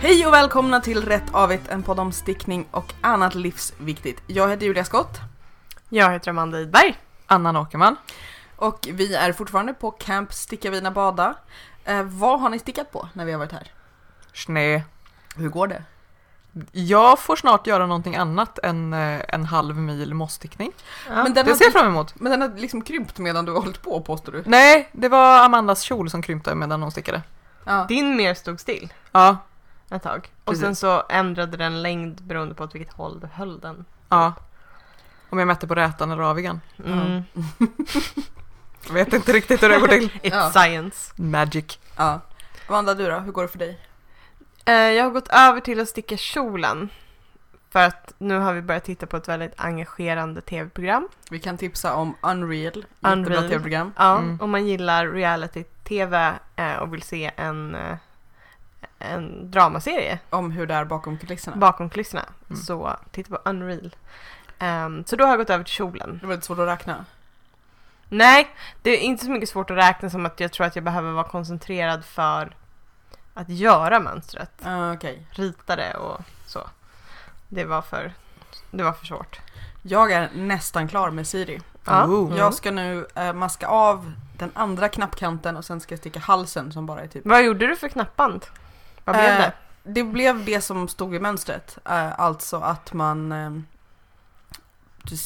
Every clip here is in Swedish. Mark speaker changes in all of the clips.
Speaker 1: Hej och välkomna till Rätt Avigt, en podd om stickning och annat livsviktigt. Jag heter Julia Skott
Speaker 2: Jag heter Amanda Idberg.
Speaker 3: Annan Åkerman.
Speaker 1: och vi är fortfarande på Camp Sticka Vina Bada. Eh, vad har ni stickat på när vi har varit här?
Speaker 3: Snö.
Speaker 1: Hur går det?
Speaker 3: Jag får snart göra någonting annat än eh, en halv mil mossstickning.
Speaker 2: Ja,
Speaker 1: men, den
Speaker 3: Det ser jag
Speaker 1: har,
Speaker 3: fram emot.
Speaker 1: men den har liksom krympt medan du har hållit på påstår du?
Speaker 3: Nej, det var Amandas kjol som krympte medan hon stickade.
Speaker 1: Ja.
Speaker 2: Din mer stod still
Speaker 3: Ja,
Speaker 2: ett tag. Och
Speaker 3: Precis.
Speaker 2: sen så ändrade den längd beroende på åt vilket håll du höll den.
Speaker 3: ja. Om jag mätte på rätan eller avigan.
Speaker 2: Mm.
Speaker 1: Mm.
Speaker 3: Jag vet inte riktigt hur det går till.
Speaker 2: It's
Speaker 1: Ja.
Speaker 2: science.
Speaker 3: Magic.
Speaker 1: ja. Amanda du då, hur går det för dig?
Speaker 2: Eh, jag har gått över till att sticka kjolen. För att nu har vi börjat titta på ett väldigt engagerande tv-program.
Speaker 1: Vi kan tipsa om Unreal, jättebra
Speaker 2: Unreal.
Speaker 1: tv-program.
Speaker 2: Ja,
Speaker 3: Mm.
Speaker 2: om man gillar reality-tv eh, och vill se en, eh, en dramaserie
Speaker 1: Om hur det är bakom kulisserna.
Speaker 2: bakom kulisserna
Speaker 3: Mm.
Speaker 2: så titta på Unreal. Ehm, så då har jag gått över till kjolen.
Speaker 1: det var lite svårt att räkna.
Speaker 2: Nej, det är inte så mycket svårt att räkna som att jag tror att jag behöver vara koncentrerad för att göra mönstret.
Speaker 1: Ah, Okej.
Speaker 2: Rita det och så. Det var för, det var för svårt.
Speaker 1: Jag är nästan klar med Siri.
Speaker 2: Ja.
Speaker 3: Oh.
Speaker 1: Jag ska nu eh, maska av den andra knappkanten och sen ska jag sticka halsen som bara är typ...
Speaker 2: Vad gjorde du för knappband? Vad blev
Speaker 1: Eh,
Speaker 2: det?
Speaker 1: Det blev det som stod i mönstret. Eh, alltså att man... Eh,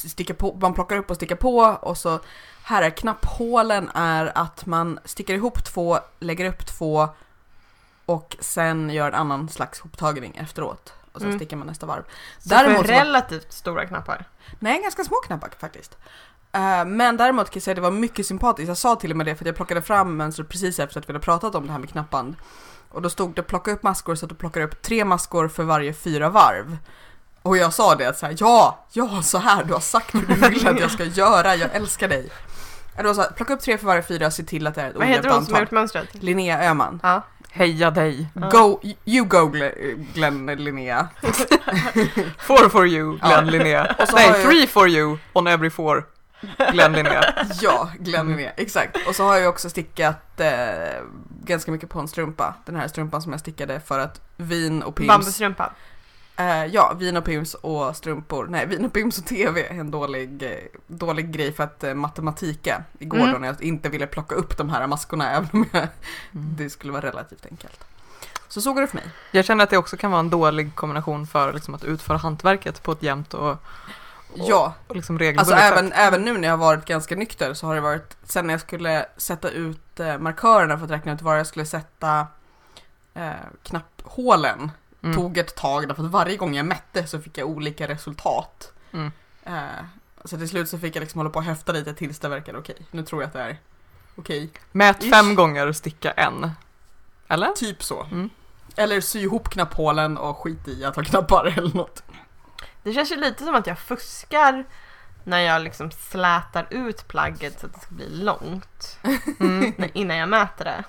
Speaker 1: stickar på, man plockar upp och stickar på och så... Här är knapphålen är att man stickar ihop två, lägger upp två och sen gör en annan slags hoptagning efteråt. Och sen
Speaker 2: Mm.
Speaker 1: stickar man nästa varv.
Speaker 2: Så
Speaker 1: däremot
Speaker 2: däremot
Speaker 1: så-
Speaker 2: relativt stora knappar.
Speaker 1: Nej, ganska små knappar faktiskt. Eh, Men däremot kan jag säga att det var mycket sympatiskt. Jag sa till och med det för att jag plockade fram mönstret precis efter att vi hade pratat om det här med knappband. Och då stod det plocka upp maskor så att du plockar upp tre maskor för varje fyra varv. Och jag sa det att så här, ja, ja, så här, du har sagt hur du vill att jag ska göra, jag älskar dig. Ja, Det var så här, plocka upp tre för varje fyra, se till att det är ett
Speaker 2: Vad heter
Speaker 1: ojämnt
Speaker 2: hon som har
Speaker 1: antal.
Speaker 2: gjort mönstret?
Speaker 1: Linnea Öhman.
Speaker 2: Ja.
Speaker 3: Heja dig.
Speaker 2: Ja.
Speaker 1: Go, you go Glenn, Glenn Linnea.
Speaker 3: Four for you, Glenn
Speaker 1: Ja.
Speaker 3: Linnea.
Speaker 1: Och så
Speaker 3: Nej,
Speaker 1: har jag-
Speaker 3: three for you on every four, Glenn Linnea.
Speaker 1: Ja, Glenn Linné, exakt. Och så har jag också stickat eh, ganska mycket på en strumpa. Den här strumpan som jag stickade för att vin och pims.
Speaker 2: Bambustrumpa.
Speaker 1: Eh, ja, vin och pims och strumpor. Nej, vin och pims och tv är en dålig, eh, dålig grej för att eh, matematika. Igår
Speaker 2: Mm.
Speaker 1: då när jag inte ville plocka upp de här maskorna även om jag,
Speaker 3: Mm.
Speaker 1: det skulle vara relativt enkelt. Så så går det för mig.
Speaker 3: Jag känner att det också kan vara en dålig kombination för liksom, att utföra hantverket på ett jämnt och,
Speaker 1: Ja,
Speaker 3: och liksom
Speaker 1: Alltså
Speaker 3: regelbundet
Speaker 1: även, även nu när jag har varit ganska nykter så har det varit, sen när jag skulle sätta ut eh, markörerna för att räkna ut var jag skulle sätta eh, knapphålen
Speaker 3: Mm.
Speaker 1: tog ett tag därför att varje gång jag mätte så fick jag olika resultat.
Speaker 3: Mm.
Speaker 1: Eh, så till slut så fick jag liksom hålla på och höfta lite tills det verkade okej. Nu tror jag att det är okej.
Speaker 3: Mät
Speaker 1: Ish.
Speaker 3: fem gånger och sticka en. Eller?
Speaker 1: Typ så.
Speaker 3: Mm.
Speaker 1: Eller sy ihop knapphålen och skit i att ha knappar eller något.
Speaker 2: Det känns ju lite som att jag fuskar när jag liksom slätar ut plagget så att det ska bli långt
Speaker 3: Mm.
Speaker 2: när- innan jag mäter det.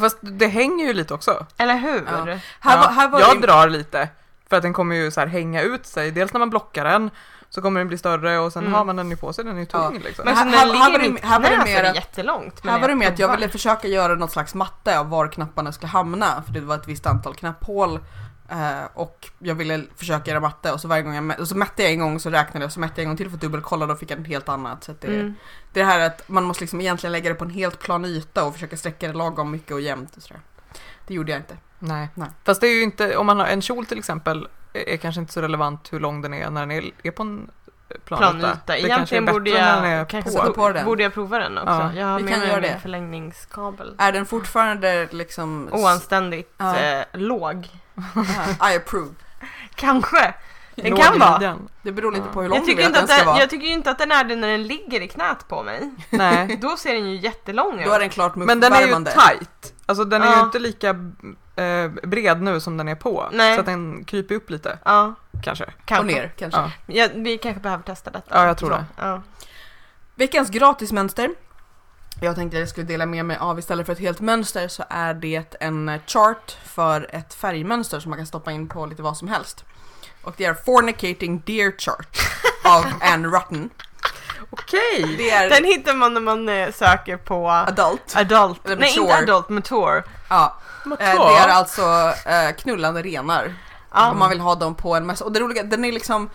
Speaker 3: Fast det hänger ju lite också.
Speaker 2: Eller hur?
Speaker 1: Ja.
Speaker 3: ja.
Speaker 1: Här, var, här var
Speaker 3: jag
Speaker 1: det-
Speaker 3: drar lite. För att den kommer ju så här hänga ut sig. Dels när man blockar den så kommer den bli större och sen
Speaker 2: Mm.
Speaker 3: har man den ju på sig, den är ju tung
Speaker 1: Ja.
Speaker 3: liksom.
Speaker 2: Men
Speaker 1: här-
Speaker 2: så när
Speaker 1: här-
Speaker 2: den
Speaker 1: här var
Speaker 2: ligger
Speaker 1: det-
Speaker 2: i mitt
Speaker 1: här var det
Speaker 2: knä så
Speaker 1: mer
Speaker 2: är
Speaker 1: att-
Speaker 2: alltså, det jättelångt. men
Speaker 1: Här var det med att jag
Speaker 2: provar.
Speaker 1: ville försöka göra något slags matte av var knapparna skulle hamna för det var ett visst antal knapphål eh, och jag ville försöka göra matte och så varje gång jag mä- och så mätte jag en gång så räknade jag och så mätte jag en gång till för att dubbelkolla och då fick jag en helt annat. Så att det,
Speaker 2: Mm.
Speaker 1: det här att man måste liksom egentligen lägga det på en helt plan yta och försöka sträcka det lagom mycket och jämnt och sådär. Det gjorde jag inte.
Speaker 3: Nej.
Speaker 1: Nej.
Speaker 3: Fast det är ju inte, om man har en kjol till exempel, är är kanske inte så relevant hur lång den är när den är, är på en plan
Speaker 2: planyta.
Speaker 3: Det kanske är
Speaker 2: Egentligen
Speaker 3: bättre
Speaker 2: borde
Speaker 3: när den
Speaker 2: jag,
Speaker 3: är
Speaker 2: kanske
Speaker 3: på.
Speaker 1: Sätta på
Speaker 2: på
Speaker 1: den.
Speaker 2: borde jag prova den också.
Speaker 3: Ja.
Speaker 2: Jag har
Speaker 1: Vi
Speaker 2: med
Speaker 1: kan
Speaker 2: mig
Speaker 1: göra
Speaker 2: min
Speaker 1: det.
Speaker 2: förlängningskabel.
Speaker 1: Är den fortfarande liksom...
Speaker 2: Oanständigt
Speaker 1: Ja.
Speaker 2: eh, låg.
Speaker 1: Ja, I approve.
Speaker 2: Kanske. Den
Speaker 3: Låg
Speaker 2: kan
Speaker 3: i
Speaker 2: vara.
Speaker 3: midjan.
Speaker 1: Det beror lite
Speaker 3: Ja.
Speaker 1: på hur lång
Speaker 2: Jag
Speaker 1: du
Speaker 2: tycker,
Speaker 1: vill att
Speaker 2: inte
Speaker 1: den
Speaker 2: att
Speaker 1: ska
Speaker 2: den,
Speaker 1: vara.
Speaker 2: jag tycker inte att den är det när den ligger i knät på mig.
Speaker 3: Nej.
Speaker 2: Då ser den ju jättelång ut.
Speaker 1: Då är den klart
Speaker 3: Men den är ju
Speaker 1: muffvärmande.
Speaker 3: tight. Alltså den är ju
Speaker 2: Ja.
Speaker 3: inte lika eh, bred nu som den är på.
Speaker 2: Nej.
Speaker 3: Så att den kryper upp lite,
Speaker 2: Ja,
Speaker 3: kanske.
Speaker 1: Och
Speaker 2: kanske.
Speaker 1: ner kanske.
Speaker 3: Ja.
Speaker 2: Ja, vi kanske behöver testa detta.
Speaker 3: Ja, jag tror
Speaker 2: Så,
Speaker 3: det.
Speaker 2: Ja.
Speaker 1: Veckans gratismönster. Jag tänkte att jag skulle dela med mig av istället för ett helt mönster så är det en eh, chart för ett färgmönster som man kan stoppa in på lite vad som helst. Och det är Fornicating Deer Chart av Anne Rutten.
Speaker 3: Okej!
Speaker 1: Det är
Speaker 2: Den hittar man när man eh, söker på
Speaker 1: adult.
Speaker 2: adult,
Speaker 1: Eller
Speaker 2: nej inte
Speaker 1: mature.
Speaker 2: adult, mature.
Speaker 1: Ja. Eh, Det är alltså eh, knullande renar.
Speaker 2: Ja,
Speaker 1: Om man vill ha dem på en mässa. Och det roliga, den är liksom,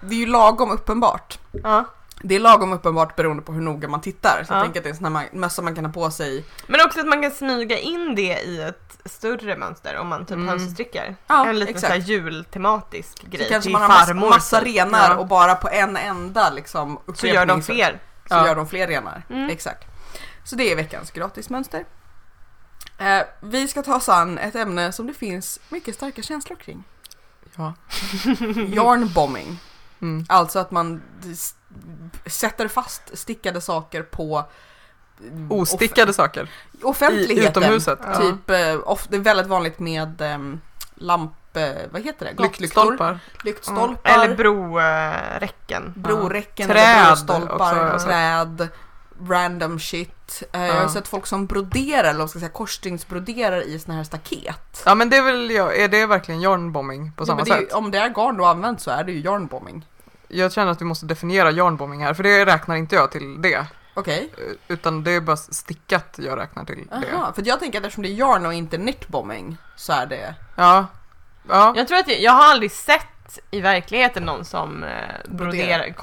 Speaker 1: det är ju lagom uppenbart.
Speaker 2: ja.
Speaker 1: Det är lagom uppenbart beroende på hur noga man tittar. Så
Speaker 2: Ja.
Speaker 1: jag tänker att det är en sån här mössa man kan ha på sig.
Speaker 2: Men också att man kan smyga in det i ett större mönster om man typ
Speaker 3: Mm.
Speaker 2: hönsestrickar.
Speaker 1: Ja,
Speaker 2: en liten
Speaker 1: exakt.
Speaker 2: så här jultematisk grej
Speaker 1: Så kanske
Speaker 2: till
Speaker 1: man har massa,
Speaker 2: farmor,
Speaker 1: massa
Speaker 2: typ.
Speaker 1: renar
Speaker 2: Ja.
Speaker 1: och bara på en enda liksom
Speaker 2: Så gör de
Speaker 1: upprepning
Speaker 2: fler.
Speaker 1: så
Speaker 3: Ja.
Speaker 1: gör de fler renar.
Speaker 2: Mm.
Speaker 1: Exakt. Så det är veckans gratismönster. Eh, vi ska ta oss an ett ämne som det finns mycket starka känslor kring.
Speaker 3: Ja.
Speaker 1: Yarnbombing.
Speaker 3: Mm.
Speaker 1: Alltså att man s- sätter fast stickade saker på mm,
Speaker 3: Ostickade saker.
Speaker 1: off- offentligheten.
Speaker 3: I utomhuset.
Speaker 2: Ja.
Speaker 1: Typ, eh, of- det är väldigt vanligt med ehm, lamp... eh, Vad heter det? Gatlyktor.
Speaker 3: Lyktstolpar.
Speaker 1: Lyktstolpar.
Speaker 2: Eller broräcken.
Speaker 1: broräcken,
Speaker 3: Ja.
Speaker 1: eller
Speaker 3: Träd också har
Speaker 1: brostolpar,
Speaker 3: jag sett.
Speaker 1: träd, random shit. Eh, Jag har
Speaker 3: Ja.
Speaker 1: sett folk som broderar, eller vad man ska säga korsstygnsbroderar i såna här staket.
Speaker 3: Ja men det är väl, ja, är det verkligen yarnbombing på
Speaker 1: Ja,
Speaker 3: samma
Speaker 1: men det är ju,
Speaker 3: sätt?
Speaker 1: om det är garn du har använt så är det ju yarnbombing.
Speaker 3: Jag känner att vi måste definiera yarnbombing här, för det räknar inte jag till det. Eh,
Speaker 1: Okej,
Speaker 3: Utan det är bara stickat jag räknar till det.
Speaker 1: aha. För jag tänker att eftersom det är yarn och inte knitbombing så är det...
Speaker 3: Ja. Ja.
Speaker 2: Jag tror att jag, jag har aldrig sett i verkligheten någon som eh, broderar,
Speaker 1: Broderar.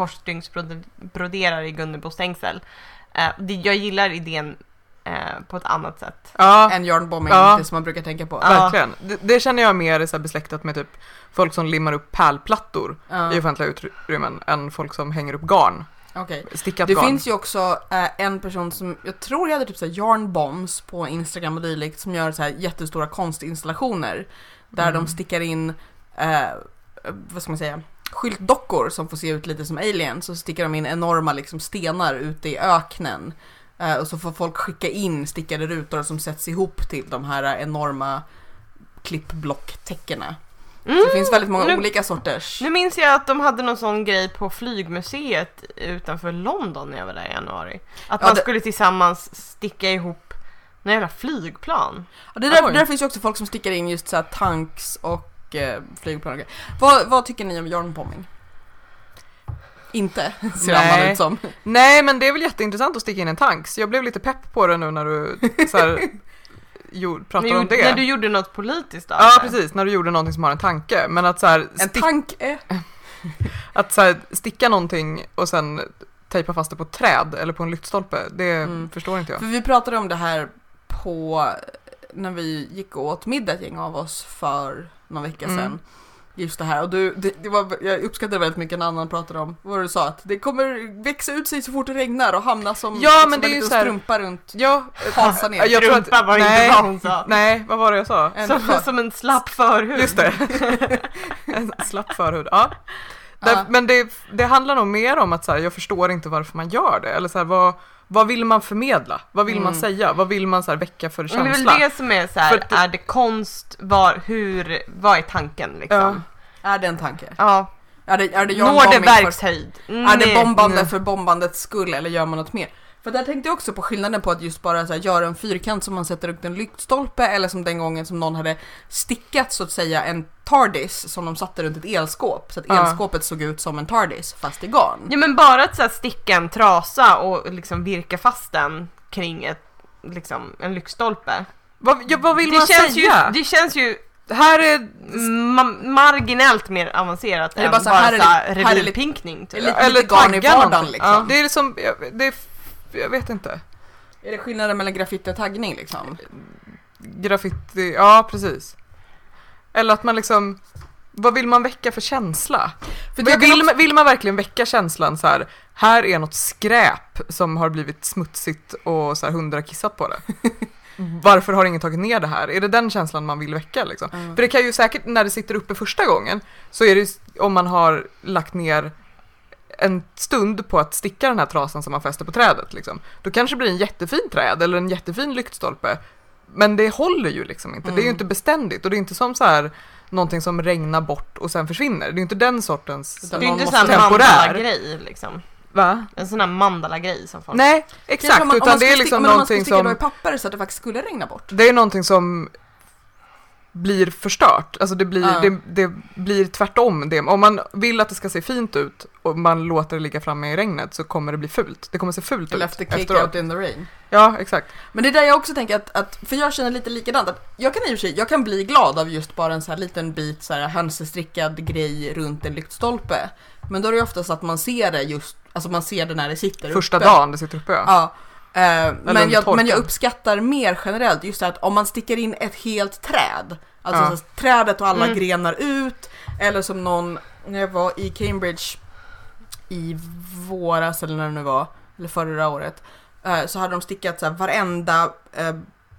Speaker 2: korsstygnsbroderar i Gunnebo stängsel. Eh, det, jag gillar idén eh, på ett annat sätt.
Speaker 3: ja.
Speaker 1: En yarnbombing,
Speaker 3: Ja.
Speaker 1: det som man brukar tänka på.
Speaker 2: Ja.
Speaker 3: Verkligen. Det, det känner jag mer är så här besläktat med typ folk som limmar upp pärlplattor
Speaker 1: Ja,
Speaker 3: i offentliga utrymmen än folk som hänger upp garn.
Speaker 1: okej.
Speaker 3: Stickat
Speaker 1: Det
Speaker 3: garn.
Speaker 1: finns ju också eh, en person som, jag tror jag hade typ såhär yarnbombs på Instagram och dylikt som gör såhär jättestora konstinstallationer. Där
Speaker 3: Mm.
Speaker 1: de stickar in, eh, vad ska man säga, skyltdockor som får se ut lite som aliens. Och så stickar de in enorma liksom stenar ute i öknen. Eh, och så får folk skicka in stickade rutor som sätts ihop till de här eh, enorma klippblocktäckena. Så det finns väldigt många
Speaker 2: Mm. nu-
Speaker 1: olika sorters.
Speaker 2: Nu minns jag att de hade någon sån grej på flygmuseet utanför London när jag var där i januari. Att
Speaker 1: Ja,
Speaker 2: man
Speaker 1: det-
Speaker 2: skulle tillsammans sticka ihop några jävla flygplan.
Speaker 1: Ja, det där,
Speaker 3: Oj.
Speaker 1: där finns ju också folk som stickar in just så här tanks och eh, flygplan och grejer. vad, vad tycker ni om yarnbombing? Inte, ser
Speaker 3: Nej.
Speaker 1: Anna ut som.
Speaker 3: Nej men det är väl jätteintressant att sticka in en tanks. Jag blev lite pepp på det nu när du så här, gjorde,
Speaker 2: Men
Speaker 3: pratade om
Speaker 2: gjorde-
Speaker 3: det.
Speaker 2: När du gjorde något politiskt av
Speaker 3: Ja
Speaker 2: det.
Speaker 3: precis, när du gjorde någonting som har en tanke. Men att, så här,
Speaker 1: En
Speaker 3: stick,
Speaker 1: tank är...
Speaker 3: att så här, sticka någonting och sen tejpa fast det på ett träd eller på en lyktstolpe, det
Speaker 1: Mm.
Speaker 3: förstår inte jag.
Speaker 1: För vi pratade om det här på när vi gick och åt middag ett gäng av oss för någon vecka
Speaker 3: Mm.
Speaker 1: sedan. Just det här och du, det, det var, jag uppskattade väldigt mycket när Annan pratade om vad du sa att det kommer växa ut sig så fort det regnar och hamna som,
Speaker 3: Ja,
Speaker 1: som
Speaker 3: men det är
Speaker 1: en
Speaker 3: ju
Speaker 1: liten
Speaker 3: så här-
Speaker 1: strumpa runt
Speaker 3: Ja,
Speaker 1: hasan ner.
Speaker 3: jag, jag tror att...
Speaker 2: Rumpa var
Speaker 3: nej.
Speaker 2: inte vad hon sa.
Speaker 3: Nej, vad var det jag sa?
Speaker 1: En-
Speaker 2: Som, som en slapp förhud.
Speaker 3: Just det. en slapp förhud. Ja. Där,
Speaker 1: Ja.
Speaker 3: Men det, det handlar nog mer om att så här, jag förstår inte varför man gör det. Eller så här, vad, vad vill man förmedla? Vad vill man
Speaker 1: Mm.
Speaker 3: säga? Vad vill man så här, väcka för
Speaker 2: Men det är
Speaker 3: känsla?
Speaker 2: väl det som är så här,
Speaker 3: För att det-
Speaker 2: är det konst, var, hur, vad är tanken liksom?
Speaker 1: Är det en tanke?
Speaker 2: Ja.
Speaker 1: Är det, är det
Speaker 2: Når det
Speaker 1: yarnbombing för-
Speaker 2: verkshöjd?
Speaker 1: Är det bombande
Speaker 3: Mm. nej.
Speaker 1: för bombandets skull eller gör man något mer? För där tänkte jag också på skillnaden på att just bara så här, göra en fyrkant som man sätter upp en lyktstolpe eller som den gången som någon hade stickat så att säga en TARDIS som de satte runt ett elskåp så att
Speaker 3: Ja.
Speaker 1: elskåpet såg ut som en TARDIS fast i garn.
Speaker 2: Ja men bara att så här, sticka en trasa och liksom virka fast den kring ett, liksom, en lyktstolpe.
Speaker 3: Vad, ja, vad vill
Speaker 2: det,
Speaker 3: man
Speaker 2: känns ju,
Speaker 3: säga?
Speaker 2: det känns ju
Speaker 3: Det här är...
Speaker 2: ma- marginellt mer avancerat
Speaker 1: Eller
Speaker 2: än
Speaker 1: bara
Speaker 2: bara,
Speaker 1: så här, här är
Speaker 2: så här,
Speaker 1: lite- här är lite-
Speaker 2: revirpinkning.
Speaker 1: Eller
Speaker 2: Typ.
Speaker 1: lite,
Speaker 3: Eller
Speaker 1: lite garn i
Speaker 3: tagga
Speaker 1: vardagen
Speaker 3: någonting.
Speaker 1: liksom.
Speaker 3: Ja, det är liksom... jag- Det är, jag vet inte.
Speaker 1: Är det skillnaden mellan graffiti och taggning liksom?
Speaker 3: Graffiti, ja precis. Eller att man liksom... Vad vill man väcka för känsla?
Speaker 1: För
Speaker 3: Men
Speaker 1: jag kan
Speaker 3: vill,
Speaker 1: också-
Speaker 3: man, vill man verkligen väcka känslan så här, här är något skräp som har blivit smutsigt och så här hundra kissat på det. Varför har ingen tagit ner det här? Är det den känslan man vill väcka liksom?
Speaker 1: Mm.
Speaker 3: För det kan ju säkert, när det sitter uppe första gången, så är det ju s- om man har lagt ner en stund på att sticka den här trasan som man fäster på trädet liksom. Då kanske det blir en jättefin träd eller en jättefin lyktstolpe. Men det håller ju liksom inte. Det är ju
Speaker 1: Mm.
Speaker 3: inte beständigt och det är inte som så här någonting som regnar bort och sen försvinner. Det är ju inte den sortens...
Speaker 1: Utan
Speaker 2: det är ju inte
Speaker 1: måste
Speaker 2: en sån här
Speaker 3: liksom temporär.
Speaker 2: mandala-grej liksom.
Speaker 3: Va?
Speaker 2: En sån här mandala-grej som folk...
Speaker 3: Nej,
Speaker 1: Kanske
Speaker 3: exakt.
Speaker 1: om man- om
Speaker 3: utan
Speaker 1: man
Speaker 3: det
Speaker 1: skulle
Speaker 3: är
Speaker 1: sticka-
Speaker 3: liksom
Speaker 1: men om man skulle
Speaker 3: någonting
Speaker 1: sticka då i
Speaker 3: som...
Speaker 1: papper så att det faktiskt skulle regna bort.
Speaker 3: Det är någonting som blir förstört. Alltså det blir,
Speaker 1: Ja.
Speaker 3: det, det blir tvärtom. Det. Om man vill att det ska se fint ut och man låter det ligga framme i regnet så kommer det bli fult. Det kommer se fult
Speaker 1: Eller
Speaker 3: ut
Speaker 1: efter Cake Out in the Rain.
Speaker 3: Ja, exakt.
Speaker 1: Men det är där jag också tänker att, att för jag känner lite likadant, att jag kan i och för sig, jag kan bli glad av just bara en så här liten bit så här hönsestrickad grej runt en lyktstolpe. Men då är det ju oftast att man ser det just, alltså man ser det när det sitter
Speaker 3: Första
Speaker 1: uppe.
Speaker 3: dagen det sitter uppe. Ja.
Speaker 1: Ja. Eh, men,
Speaker 3: under
Speaker 1: jag, men jag
Speaker 3: torkan.
Speaker 1: uppskattar mer generellt just det här att om man sticker in ett helt träd, alltså
Speaker 3: Ja.
Speaker 1: så här, trädet och alla
Speaker 2: Mm.
Speaker 1: grenar ut, eller som någon, när jag var i Cambridge i våras eller när det nu var, eller förra året, eh, så hade de stickat så här, varenda eh,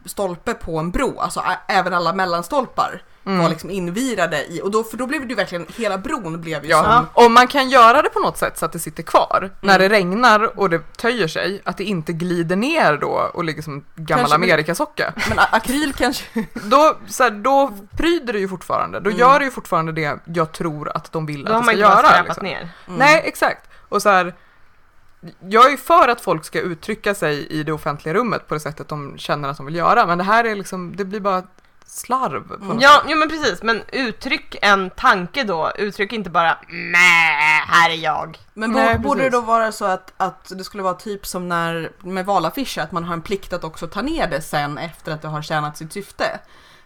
Speaker 1: stolpe på en bro, alltså ä- även alla mellanstolpar var
Speaker 3: Mm.
Speaker 1: liksom invirade i, och då, för då blev det ju verkligen, hela bron blev ju
Speaker 3: Ja.
Speaker 1: som,
Speaker 3: Om man kan göra det på något sätt så att det sitter kvar när det regnar och det töjer sig, att det inte glider ner då och ligger som gammal
Speaker 1: Kanske-
Speaker 3: amerikasocka.
Speaker 1: men a- akryl kanske,
Speaker 3: Då, så här, då pryder det ju fortfarande. Då
Speaker 1: Mm.
Speaker 3: gör det ju fortfarande det jag tror att de vill
Speaker 2: Då har
Speaker 3: att det
Speaker 2: man
Speaker 3: ska
Speaker 2: inte bara
Speaker 3: göra.
Speaker 2: skräpat
Speaker 3: Liksom.
Speaker 2: ner.
Speaker 1: Mm.
Speaker 3: Nej, exakt. Och så här, jag är ju för att folk ska uttrycka sig i det offentliga rummet på det sättet de känner att de vill göra, men det här är liksom, det blir bara slarv. På
Speaker 1: Mm.
Speaker 3: något
Speaker 2: Ja, jo, men precis. Men uttryck en tanke då. Uttryck inte bara nej, här är jag. Alltså,
Speaker 1: Men bo,
Speaker 3: Nej,
Speaker 1: borde det
Speaker 3: precis.
Speaker 1: då vara så att, att det skulle vara typ som när med valaffischer, att man har en plikt att också ta ner det sen efter att det har tjänat sitt syfte?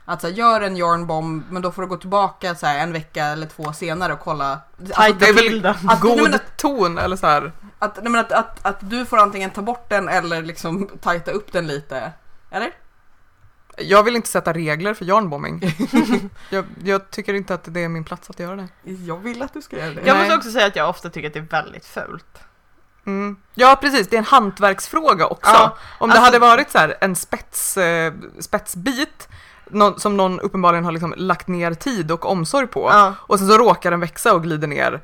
Speaker 1: Att så här, gör en yarnbomb, men då får du gå tillbaka så här, en vecka eller två senare och kolla. Alltså,
Speaker 2: Tajta
Speaker 3: det är väl-
Speaker 2: bilden.
Speaker 1: Att, nej, men
Speaker 3: God
Speaker 1: att,
Speaker 3: ton eller så här.
Speaker 1: att, nej, men att, att, att du får antingen ta bort den eller liksom tajta upp den lite. Eller?
Speaker 3: Jag vill inte sätta regler för yarnbombing. jag, jag tycker inte att det är min plats att göra det.
Speaker 1: Jag vill att du ska göra det.
Speaker 2: Jag
Speaker 3: Nej.
Speaker 2: måste också säga att jag ofta tycker att det är väldigt fult.
Speaker 3: Mm. Ja, precis. Det är en hantverksfråga också.
Speaker 2: Ja,
Speaker 3: Om
Speaker 2: alltså-
Speaker 3: det hade varit så här, en spets, eh, spetsbit någon, som någon uppenbarligen har liksom lagt ner tid och omsorg på
Speaker 2: Ja.
Speaker 3: och sen så råkar den växa och glider ner.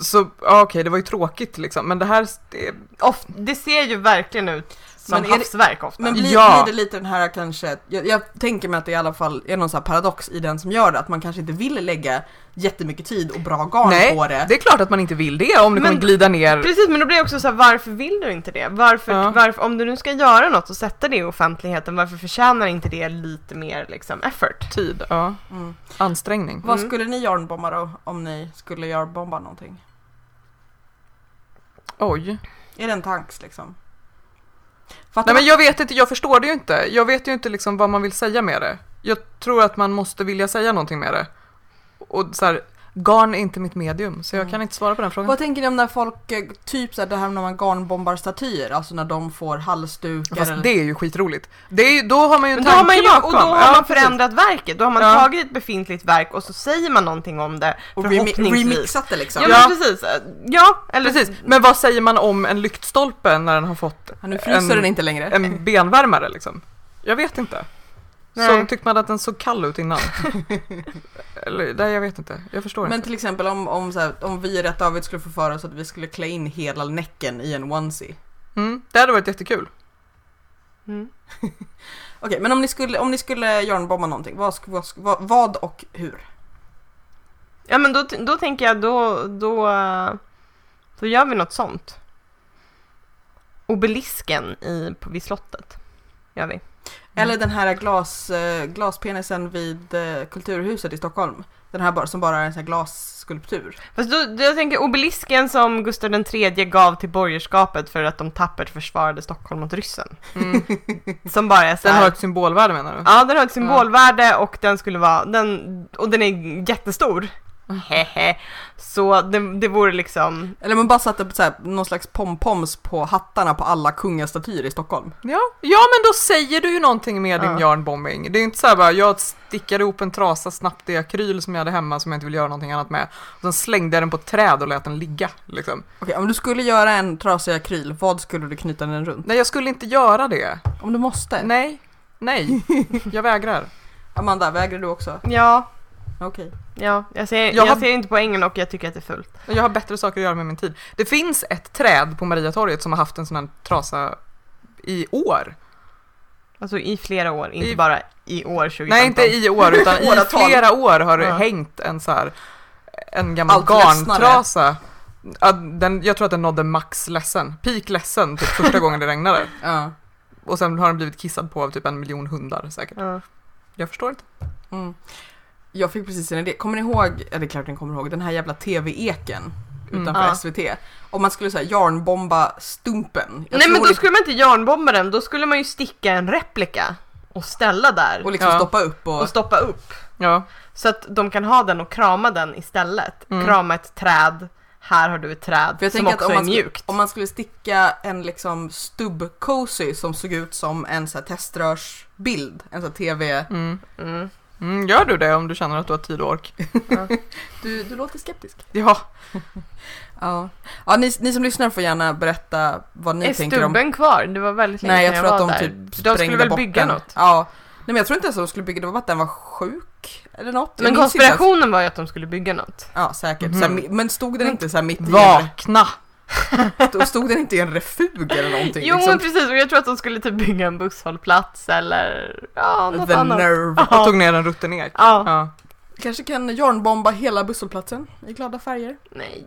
Speaker 3: Så ja, okej, det var ju tråkigt liksom, men det här... Det,
Speaker 2: Of, det ser ju verkligen ut som
Speaker 1: Men är det-
Speaker 2: hafsverk ofta.
Speaker 1: Men blir,
Speaker 3: Ja.
Speaker 1: blir det lite den här kanske, jag, jag tänker mig att det i alla fall är någon så här paradox i den som gör det, att man kanske inte vill lägga jättemycket tid och bra garn
Speaker 3: nej,
Speaker 1: på det.
Speaker 3: det är klart att man inte vill det om det
Speaker 2: Men-
Speaker 3: kommer glida ner.
Speaker 2: Precis, men då blir det också så här, varför vill du inte det? Varför,
Speaker 3: Ja.
Speaker 2: varför, om du nu ska göra något och sätta det i offentligheten, varför förtjänar inte det lite mer liksom, effort?
Speaker 3: Tid, ja.
Speaker 1: Mm.
Speaker 3: Ansträngning.
Speaker 1: Vad skulle ni yarnbomba då om ni skulle yarnbomba någonting?
Speaker 3: Oj.
Speaker 1: Är det en tanks liksom? Fattar
Speaker 3: Nej men jag vet inte, jag förstår det ju inte. Jag vet ju inte liksom vad man vill säga med det. Jag tror att man måste vilja säga någonting med det. Och så här, garn är inte mitt medium, så jag
Speaker 1: Mm.
Speaker 3: kan inte svara på den
Speaker 1: man-
Speaker 3: frågan.
Speaker 1: Vad tänker ni om när folk, eh, typ så här, det här när man garnbombar statyer, alltså när de får halsdukar
Speaker 3: Fast
Speaker 1: eller...
Speaker 3: det är ju skitroligt. Det är ju, då har man ju en
Speaker 2: Men då har man
Speaker 3: tanke
Speaker 2: ju,
Speaker 3: bakom.
Speaker 2: och då har
Speaker 3: Ja,
Speaker 2: man
Speaker 3: precis.
Speaker 2: förändrat verket, då har man
Speaker 3: Ja.
Speaker 2: tagit ett befintligt verk och så säger man någonting om det
Speaker 1: och remi-
Speaker 2: förhoppningsvis.
Speaker 1: remixat det liksom?
Speaker 2: Ja, men
Speaker 3: Ja.
Speaker 2: precis. Ja, eller
Speaker 3: Precis, men vad säger man om en lyktstolpe när den har fått
Speaker 1: Ja, nu fryser
Speaker 3: En-
Speaker 1: den inte längre.
Speaker 3: en benvärmare liksom? Jag vet inte.
Speaker 2: Nej.
Speaker 3: Så tyckte man att den såg kall ut innan. Eller, nej jag vet inte, jag förstår
Speaker 1: Men
Speaker 3: inte.
Speaker 1: till exempel om, om, så här, om vi i Rätt David skulle få för oss att vi skulle klä in hela näcken i en onesie.
Speaker 3: Mm, det hade varit jättekul.
Speaker 2: Mm.
Speaker 1: Okej, men om ni skulle, om ni skulle yarnbomba någonting, vad, sk- vad, sk- vad, vad och hur?
Speaker 2: Ja, men då, då tänker jag, då, då, eh, då gör vi något sånt. Obelisken i, på, vid slottet gör vi. Mm.
Speaker 1: Eller den här glas, eh, glaspenisen vid eh, Kulturhuset i Stockholm. Den här bara, som bara är en sån här glasskulptur.
Speaker 2: Fast då, då jag tänker obelisken som Gustav III gav till borgerskapet för att de tappert försvarade Stockholm mot ryssen.
Speaker 3: Mm.
Speaker 2: Som bara är så
Speaker 3: Den har
Speaker 2: här,
Speaker 3: ett symbolvärde menar du?
Speaker 2: Ja, den har ett symbolvärde och den skulle vara, den, och den är jättestor.
Speaker 3: Mm.
Speaker 2: Hehe. Så det, det vore liksom,
Speaker 1: Eller man bara satte så här, någon slags pompoms på hattarna på alla kungastatyer i Stockholm.
Speaker 3: Ja, ja men då säger du ju någonting med din
Speaker 2: Ja.
Speaker 3: yarnbombing. Det är inte så här bara, jag stickade ihop en trasa snabbt i akryl som jag hade hemma som jag inte ville göra någonting annat med. Och sen slängde jag den på ett träd och lät den ligga. Liksom.
Speaker 1: Okej, om du skulle göra en trasig akryl, vad skulle du knyta den runt?
Speaker 3: Nej, jag skulle inte göra det.
Speaker 1: Om du måste?
Speaker 3: Nej, nej, jag vägrar.
Speaker 1: Amanda, vägrar du också?
Speaker 2: ja,
Speaker 1: Okej.
Speaker 2: ja, jag ser, jag,
Speaker 3: Jag har-
Speaker 2: ser inte poängen och jag tycker att det är fult.
Speaker 3: Jag har bättre saker att göra med min tid. Det finns ett träd på Mariatorget som har haft en sån här trasa i år.
Speaker 2: Alltså i flera år, inte
Speaker 3: I-
Speaker 2: bara i år 2015.
Speaker 3: Nej, inte i år, utan i
Speaker 1: Åratal.
Speaker 3: flera år har det
Speaker 2: Ja.
Speaker 3: hängt en så här, en gammal
Speaker 1: Allt
Speaker 3: garntrasa. Ja, den, jag tror att den nådde max ledsen, peak ledsen, typ första gången det regnade.
Speaker 1: Ja.
Speaker 3: Och sen har den blivit kissad på av typ en miljon hundar säkert.
Speaker 2: Ja.
Speaker 3: Jag förstår inte.
Speaker 1: Mm. Jag fick precis en idé. Kommer ni ihåg, ja det är klart ni kommer ihåg, den här jävla TV-eken
Speaker 3: Mm.
Speaker 1: utanför
Speaker 2: Ja.
Speaker 1: SVT? Om man skulle säga järnbomba Stumpen. Jag tror
Speaker 2: Nej men
Speaker 1: liksom-
Speaker 2: då
Speaker 1: det-
Speaker 2: skulle man inte järnbomba den, då skulle man ju sticka en replika och ställa där
Speaker 1: Och liksom
Speaker 3: Ja.
Speaker 1: stoppa upp och...
Speaker 2: och stoppa upp.
Speaker 3: Ja.
Speaker 2: Så att de kan ha den och krama den istället.
Speaker 3: Mm.
Speaker 2: Krama ett träd, här har du ett träd
Speaker 1: För jag
Speaker 2: som
Speaker 1: tänker att
Speaker 2: också
Speaker 1: om
Speaker 2: är
Speaker 1: man, skulle,
Speaker 2: mjukt.
Speaker 1: om man skulle sticka en liksom stubb-cozy som såg ut som en så här teströrsbild, en sån här TV...
Speaker 3: Mm.
Speaker 2: Mm.
Speaker 3: Mm, gör du det om du känner att du har tid och ork?
Speaker 1: Du, du låter skeptisk.
Speaker 3: Ja.
Speaker 1: Ja, ja ni, ni som lyssnar får gärna berätta vad ni
Speaker 2: Är
Speaker 1: tänker om...
Speaker 2: stubben kvar? Det var väldigt länge
Speaker 1: Nej, jag
Speaker 2: sedan
Speaker 1: tror att de
Speaker 2: var där.
Speaker 1: typ
Speaker 2: de skulle
Speaker 1: sprängde
Speaker 2: väl
Speaker 1: bort
Speaker 2: bygga
Speaker 1: den.
Speaker 2: något?
Speaker 1: Ja. Nej men jag tror inte ens de skulle bygga, det var bara att den var sjuk eller något. Jag
Speaker 2: Men
Speaker 1: minns inte ens.
Speaker 2: konspirationen var ju att de skulle bygga något.
Speaker 1: Ja säkert,
Speaker 3: Mhm.
Speaker 1: så här, mi- men stod den inte så här mitt i en,
Speaker 3: Vakna!
Speaker 1: ref- stod den inte i en refug eller någonting?
Speaker 2: Jo men
Speaker 1: liksom?
Speaker 2: precis, och jag tror att de skulle typ bygga en busshållplats eller ja, något
Speaker 1: The
Speaker 2: annat.
Speaker 1: nerve.
Speaker 3: Och tog ner en rutten ek.
Speaker 2: Ja.
Speaker 3: Ja.
Speaker 1: Kanske kan jornbomba hela busshållplatsen i glada färger.
Speaker 2: Nej.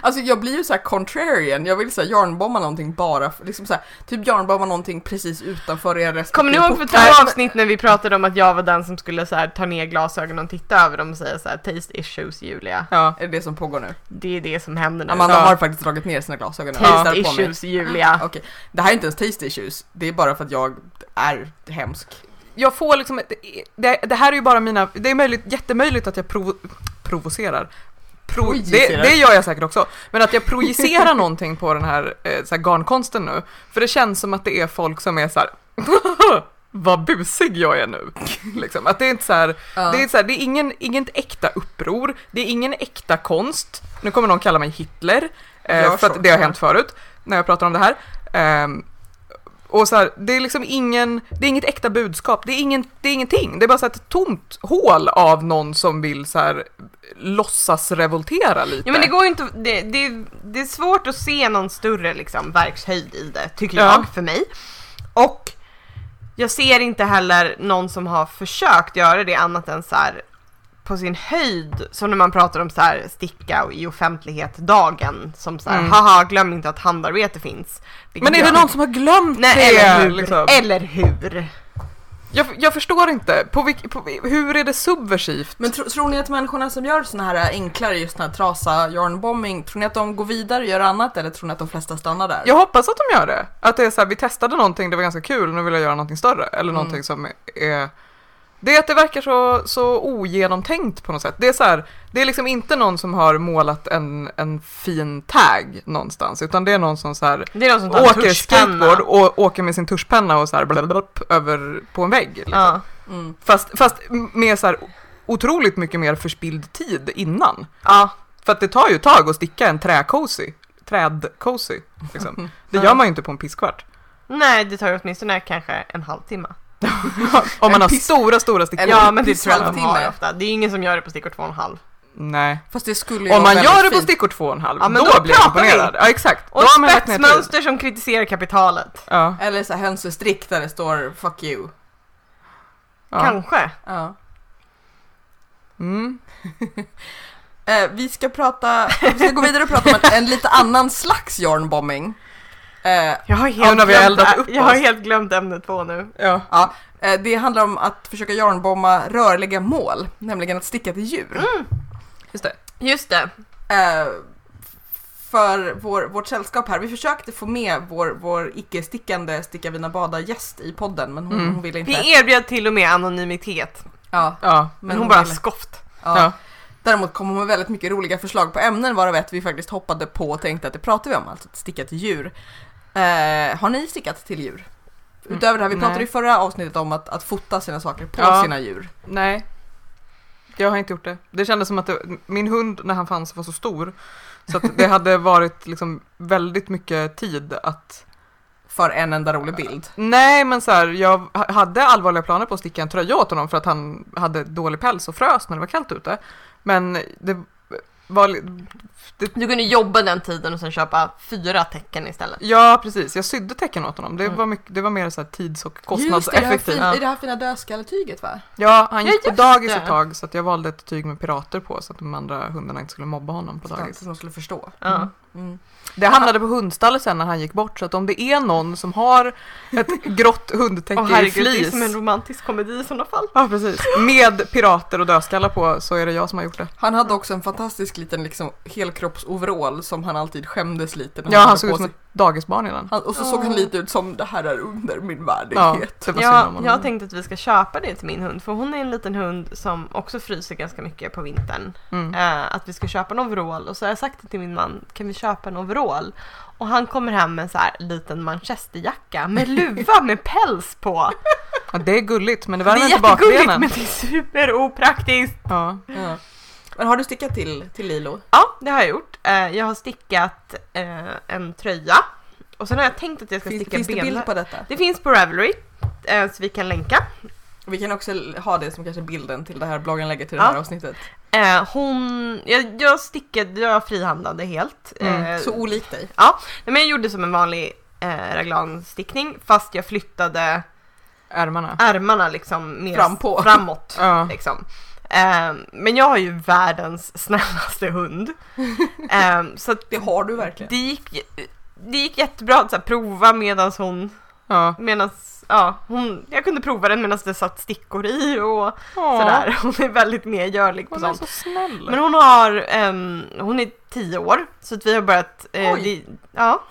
Speaker 1: Alltså jag blir ju så här contrarian, jag vill så här järnbomba någonting bara, för, liksom så här, typ järnbomba någonting precis utanför er respektive
Speaker 2: Kommer ni ihåg för
Speaker 1: port.
Speaker 2: två avsnitt när vi pratade om att jag var den som skulle så här, ta ner glasögonen och titta över dem och säga så här, taste issues Julia.
Speaker 3: ja.
Speaker 1: Är det det som pågår nu?
Speaker 2: Det är det som händer nu.
Speaker 1: Amanda
Speaker 3: Ja.
Speaker 1: har faktiskt dragit ner sina glasögon. nu. Jag
Speaker 2: Taste
Speaker 1: tittar på mig.
Speaker 2: issues Julia.
Speaker 1: Okej, det här är inte ens taste issues, det är bara för att jag är hemsk.
Speaker 3: Jag får liksom, ett- det, det här är ju bara mina, det är möjligt, jättemöjligt att jag provo, provocerar. Pro, det,
Speaker 1: Projicerar.
Speaker 3: det gör jag säkert också. Men att jag projicerar någonting på den här, eh, så här garnkonsten nu. För det känns som att det är folk som är så här. Vad busig jag är nu. Liksom. Att det är inte så här, Det är, så här, det är ingen, inget äkta uppror, det är ingen äkta konst. Nu kommer någon kalla mig Hitler, eh,
Speaker 1: Gör
Speaker 3: för
Speaker 1: så.
Speaker 3: att det har hänt förut när jag pratar om det här. Ehm, och så här, det är liksom ingen, det är inget äkta budskap, det är, ingen, det är ingenting. Det är bara så här ett tomt hål av någon som vill så här låtsas revoltera lite.
Speaker 2: Ja men det går ju inte, det, det, det är svårt att se någon större liksom verkshöjd i det, tycker
Speaker 3: Ja.
Speaker 2: jag, för mig. Och jag ser inte heller någon som har försökt göra det annat än så här på sin höjd, som när man pratar om så här sticka och i offentlighet-dagen, som så här,
Speaker 3: Mm.
Speaker 2: haha, glöm inte att handarbete finns. Vilket
Speaker 3: Men är det
Speaker 2: jag-
Speaker 3: någon som har glömt
Speaker 2: Nej,
Speaker 3: det?
Speaker 2: eller hur?
Speaker 3: liksom?
Speaker 2: Eller hur?
Speaker 3: jag, jag förstår inte, på vilk, på, hur är det subversivt?
Speaker 1: Men tro, tror ni att människorna som gör såna här äh, enklare, just den här trasa yarnbombing, tror ni att de går vidare och gör annat eller tror ni att de flesta stannar där?
Speaker 3: Jag hoppas att de gör det. Att det är så här, vi testade någonting, det var ganska kul, nu vill jag göra någonting större. Eller
Speaker 2: Mm.
Speaker 3: någonting som är... Det är att det verkar så, så ogenomtänkt på något sätt. Det är, så här, det är liksom inte någon som har målat en, en fin tag någonstans, utan det är någon som så här,
Speaker 2: Det är någon som tar en
Speaker 3: åker
Speaker 2: tuschpenna.
Speaker 3: skateboard och åker med sin tuschpenna och så här, blablabla, över på en vägg. Liksom.
Speaker 2: Ja.
Speaker 1: Mm.
Speaker 3: Fast, fast med så här, otroligt mycket mer förspilld tid innan.
Speaker 2: ja.
Speaker 3: För att det tar ju ett tag att sticka en träcozy. Trädcozy. Liksom. Det gör man ju inte på en pisskvart.
Speaker 2: Nej, det tar ju åtminstone kanske en halvtimme.
Speaker 3: Om man
Speaker 1: En
Speaker 3: har
Speaker 1: piss-
Speaker 3: stora, stora stickor.
Speaker 1: Eller
Speaker 2: ja, men det
Speaker 1: precis
Speaker 2: tror jag de
Speaker 1: halvtimme.
Speaker 2: har ofta. Det är ingen som gör det på stickor två och en halv.
Speaker 3: Nej.
Speaker 1: Fast det skulle ju
Speaker 3: Om
Speaker 1: vara
Speaker 3: man
Speaker 1: väldigt
Speaker 3: gör det på
Speaker 1: fint.
Speaker 3: stickor två och en halv,
Speaker 2: Ja, men
Speaker 3: då,
Speaker 2: då
Speaker 3: blir jag
Speaker 2: pratar vi.
Speaker 3: imponerad. Ja, exakt.
Speaker 2: Och
Speaker 3: då har man lagt ner tid.
Speaker 2: spetsmönster som kritiserar kapitalet.
Speaker 3: Ja,
Speaker 1: Eller så här hönsestrick där det står 'fuck you'.
Speaker 3: ja.
Speaker 2: Kanske.
Speaker 1: Ja.
Speaker 3: Mm.
Speaker 1: Eh, vi ska prata, vi ska gå vidare och prata om en, en lite annan slags yarnbombing. Eh,
Speaker 2: Jag har,
Speaker 3: Ja, när vi har eldat upp
Speaker 2: jag har
Speaker 3: oss.
Speaker 2: helt glömt ämne två nu.
Speaker 3: Ja.
Speaker 1: ja, eh, det handlar om att försöka yarnbomba rörliga mål, nämligen att sticka till djur.
Speaker 3: Just det.
Speaker 2: Just det.
Speaker 1: Eh, för vår, vårt sällskap här, vi försökte få med vår, vår icke-stickande sticka vina bada gäst i podden men hon,
Speaker 3: Mm.
Speaker 1: hon ville inte.
Speaker 2: Vi erbjöd till och med anonymitet.
Speaker 1: Ja,
Speaker 3: Ja.
Speaker 2: Men, hon bara
Speaker 1: ville-
Speaker 2: skoft.
Speaker 1: ja.
Speaker 3: Ja.
Speaker 1: Däremot kom hon med väldigt mycket roliga förslag på ämnen varav ett vi faktiskt hoppade på och tänkte att det pratar vi om, alltså att sticka till djur. Eh, har ni stickat till djur? Utöver det här, vi
Speaker 3: Mm, Nej.
Speaker 1: pratade i förra avsnittet om att, att fota sina saker på
Speaker 3: Ja.
Speaker 1: sina djur.
Speaker 3: Nej. Jag har inte gjort det. Det kändes som att det, min hund när han fanns var så stor. Så att det hade varit liksom väldigt mycket tid att
Speaker 1: För en enda rolig bild.
Speaker 3: Nej, men så här, jag ha- hade allvarliga planer på att sticka en tröja åt honom för att han hade dålig päls och frös när det var kallt ute. Men det var... li-
Speaker 2: Du kunde jobba den tiden och sen köpa fyra tecken istället.
Speaker 3: Ja, precis. Jag sydde tecken åt honom. Det
Speaker 2: Mm.
Speaker 3: var, mycket, det var mer så här tids och
Speaker 1: Just det, det här
Speaker 3: kostnadseffektivt.
Speaker 1: fin- det är det här fina dödskalletyget va?
Speaker 3: Ja, han gick
Speaker 2: Ja,
Speaker 3: på dagis
Speaker 2: just det.
Speaker 3: ett tag så att jag valde ett tyg med pirater på så att de andra hundarna inte skulle mobba honom på dagis.
Speaker 1: Så de skulle förstå.
Speaker 2: Ja.
Speaker 3: Mm. Mm. Det hamnade på hundstallet sen när han gick bort så att om det är någon som har ett grått hundtäcke
Speaker 2: Åh
Speaker 3: i
Speaker 2: herregud, det är
Speaker 3: flis
Speaker 2: som en romantisk komedi i sådana fall.
Speaker 3: ja, precis, med pirater och dödskallar på så är det jag som har gjort det.
Speaker 1: Han hade också en fantastisk liten liksom, helkroppsoverall som han alltid skämdes lite när
Speaker 3: Ja, han
Speaker 1: hade
Speaker 3: såg ut
Speaker 1: på
Speaker 3: som
Speaker 1: sig.
Speaker 3: ett dagisbarn innan.
Speaker 1: Han, och så såg han lite ut som det här är under min
Speaker 3: Ja,
Speaker 1: värdighet.
Speaker 3: det var synd om
Speaker 2: Jag,
Speaker 3: honom.
Speaker 2: jag tänkte att vi ska köpa det till min hund för hon är en liten hund som också fryser ganska mycket på vintern.
Speaker 3: Mm.
Speaker 2: Eh, att vi ska köpa en overall och så har jag sagt det till min man, kan vi köpa en overall? Och han kommer hem med en så här liten manchesterjacka med luva med päls på.
Speaker 3: Ja, det är gulligt men det
Speaker 2: Det
Speaker 3: värmer
Speaker 2: är
Speaker 3: inte
Speaker 2: jättegulligt
Speaker 3: bakbenen.
Speaker 2: men det är superopraktiskt.
Speaker 3: Ja.
Speaker 1: Ja. Men har du stickat till, till Lilo?
Speaker 2: Ja, det har jag gjort. Eh, jag har stickat eh, en tröja och sen har jag tänkt att jag ska
Speaker 1: Finns,
Speaker 2: sticka
Speaker 1: finns det
Speaker 2: benlö-
Speaker 1: bild på detta?
Speaker 2: Det finns på Ravelry eh, så vi kan länka.
Speaker 1: Vi kan också l- ha det som kanske bilden till det här blogganlägget till
Speaker 2: Ja.
Speaker 1: det här avsnittet.
Speaker 2: Eh, hon, jag, jag stickade, jag frihandlade helt.
Speaker 3: Mm,
Speaker 2: Eh,
Speaker 1: Så olikt dig.
Speaker 2: nej, men jag gjorde som en vanlig eh, raglanstickning fast jag flyttade
Speaker 3: Ärmarna.
Speaker 2: ärmarna liksom mer
Speaker 1: Fram på.
Speaker 2: framåt.
Speaker 3: Ja.
Speaker 2: Liksom. Eh, men jag har ju världens snällaste hund. Eh, så att
Speaker 1: Det har du verkligen.
Speaker 2: det gick, det gick jättebra att så här, prova medan hon,
Speaker 3: Ja.
Speaker 2: medans, ja, hon, jag kunde prova den medan det satt stickor i och
Speaker 3: Åh,
Speaker 2: sådär. Hon är väldigt mer görlig på
Speaker 3: Hon är
Speaker 2: sånt.
Speaker 3: så snäll.
Speaker 2: Men hon har, ehm, hon är tio år, så att vi har börjat, eh,
Speaker 1: Oj.
Speaker 2: det, ja.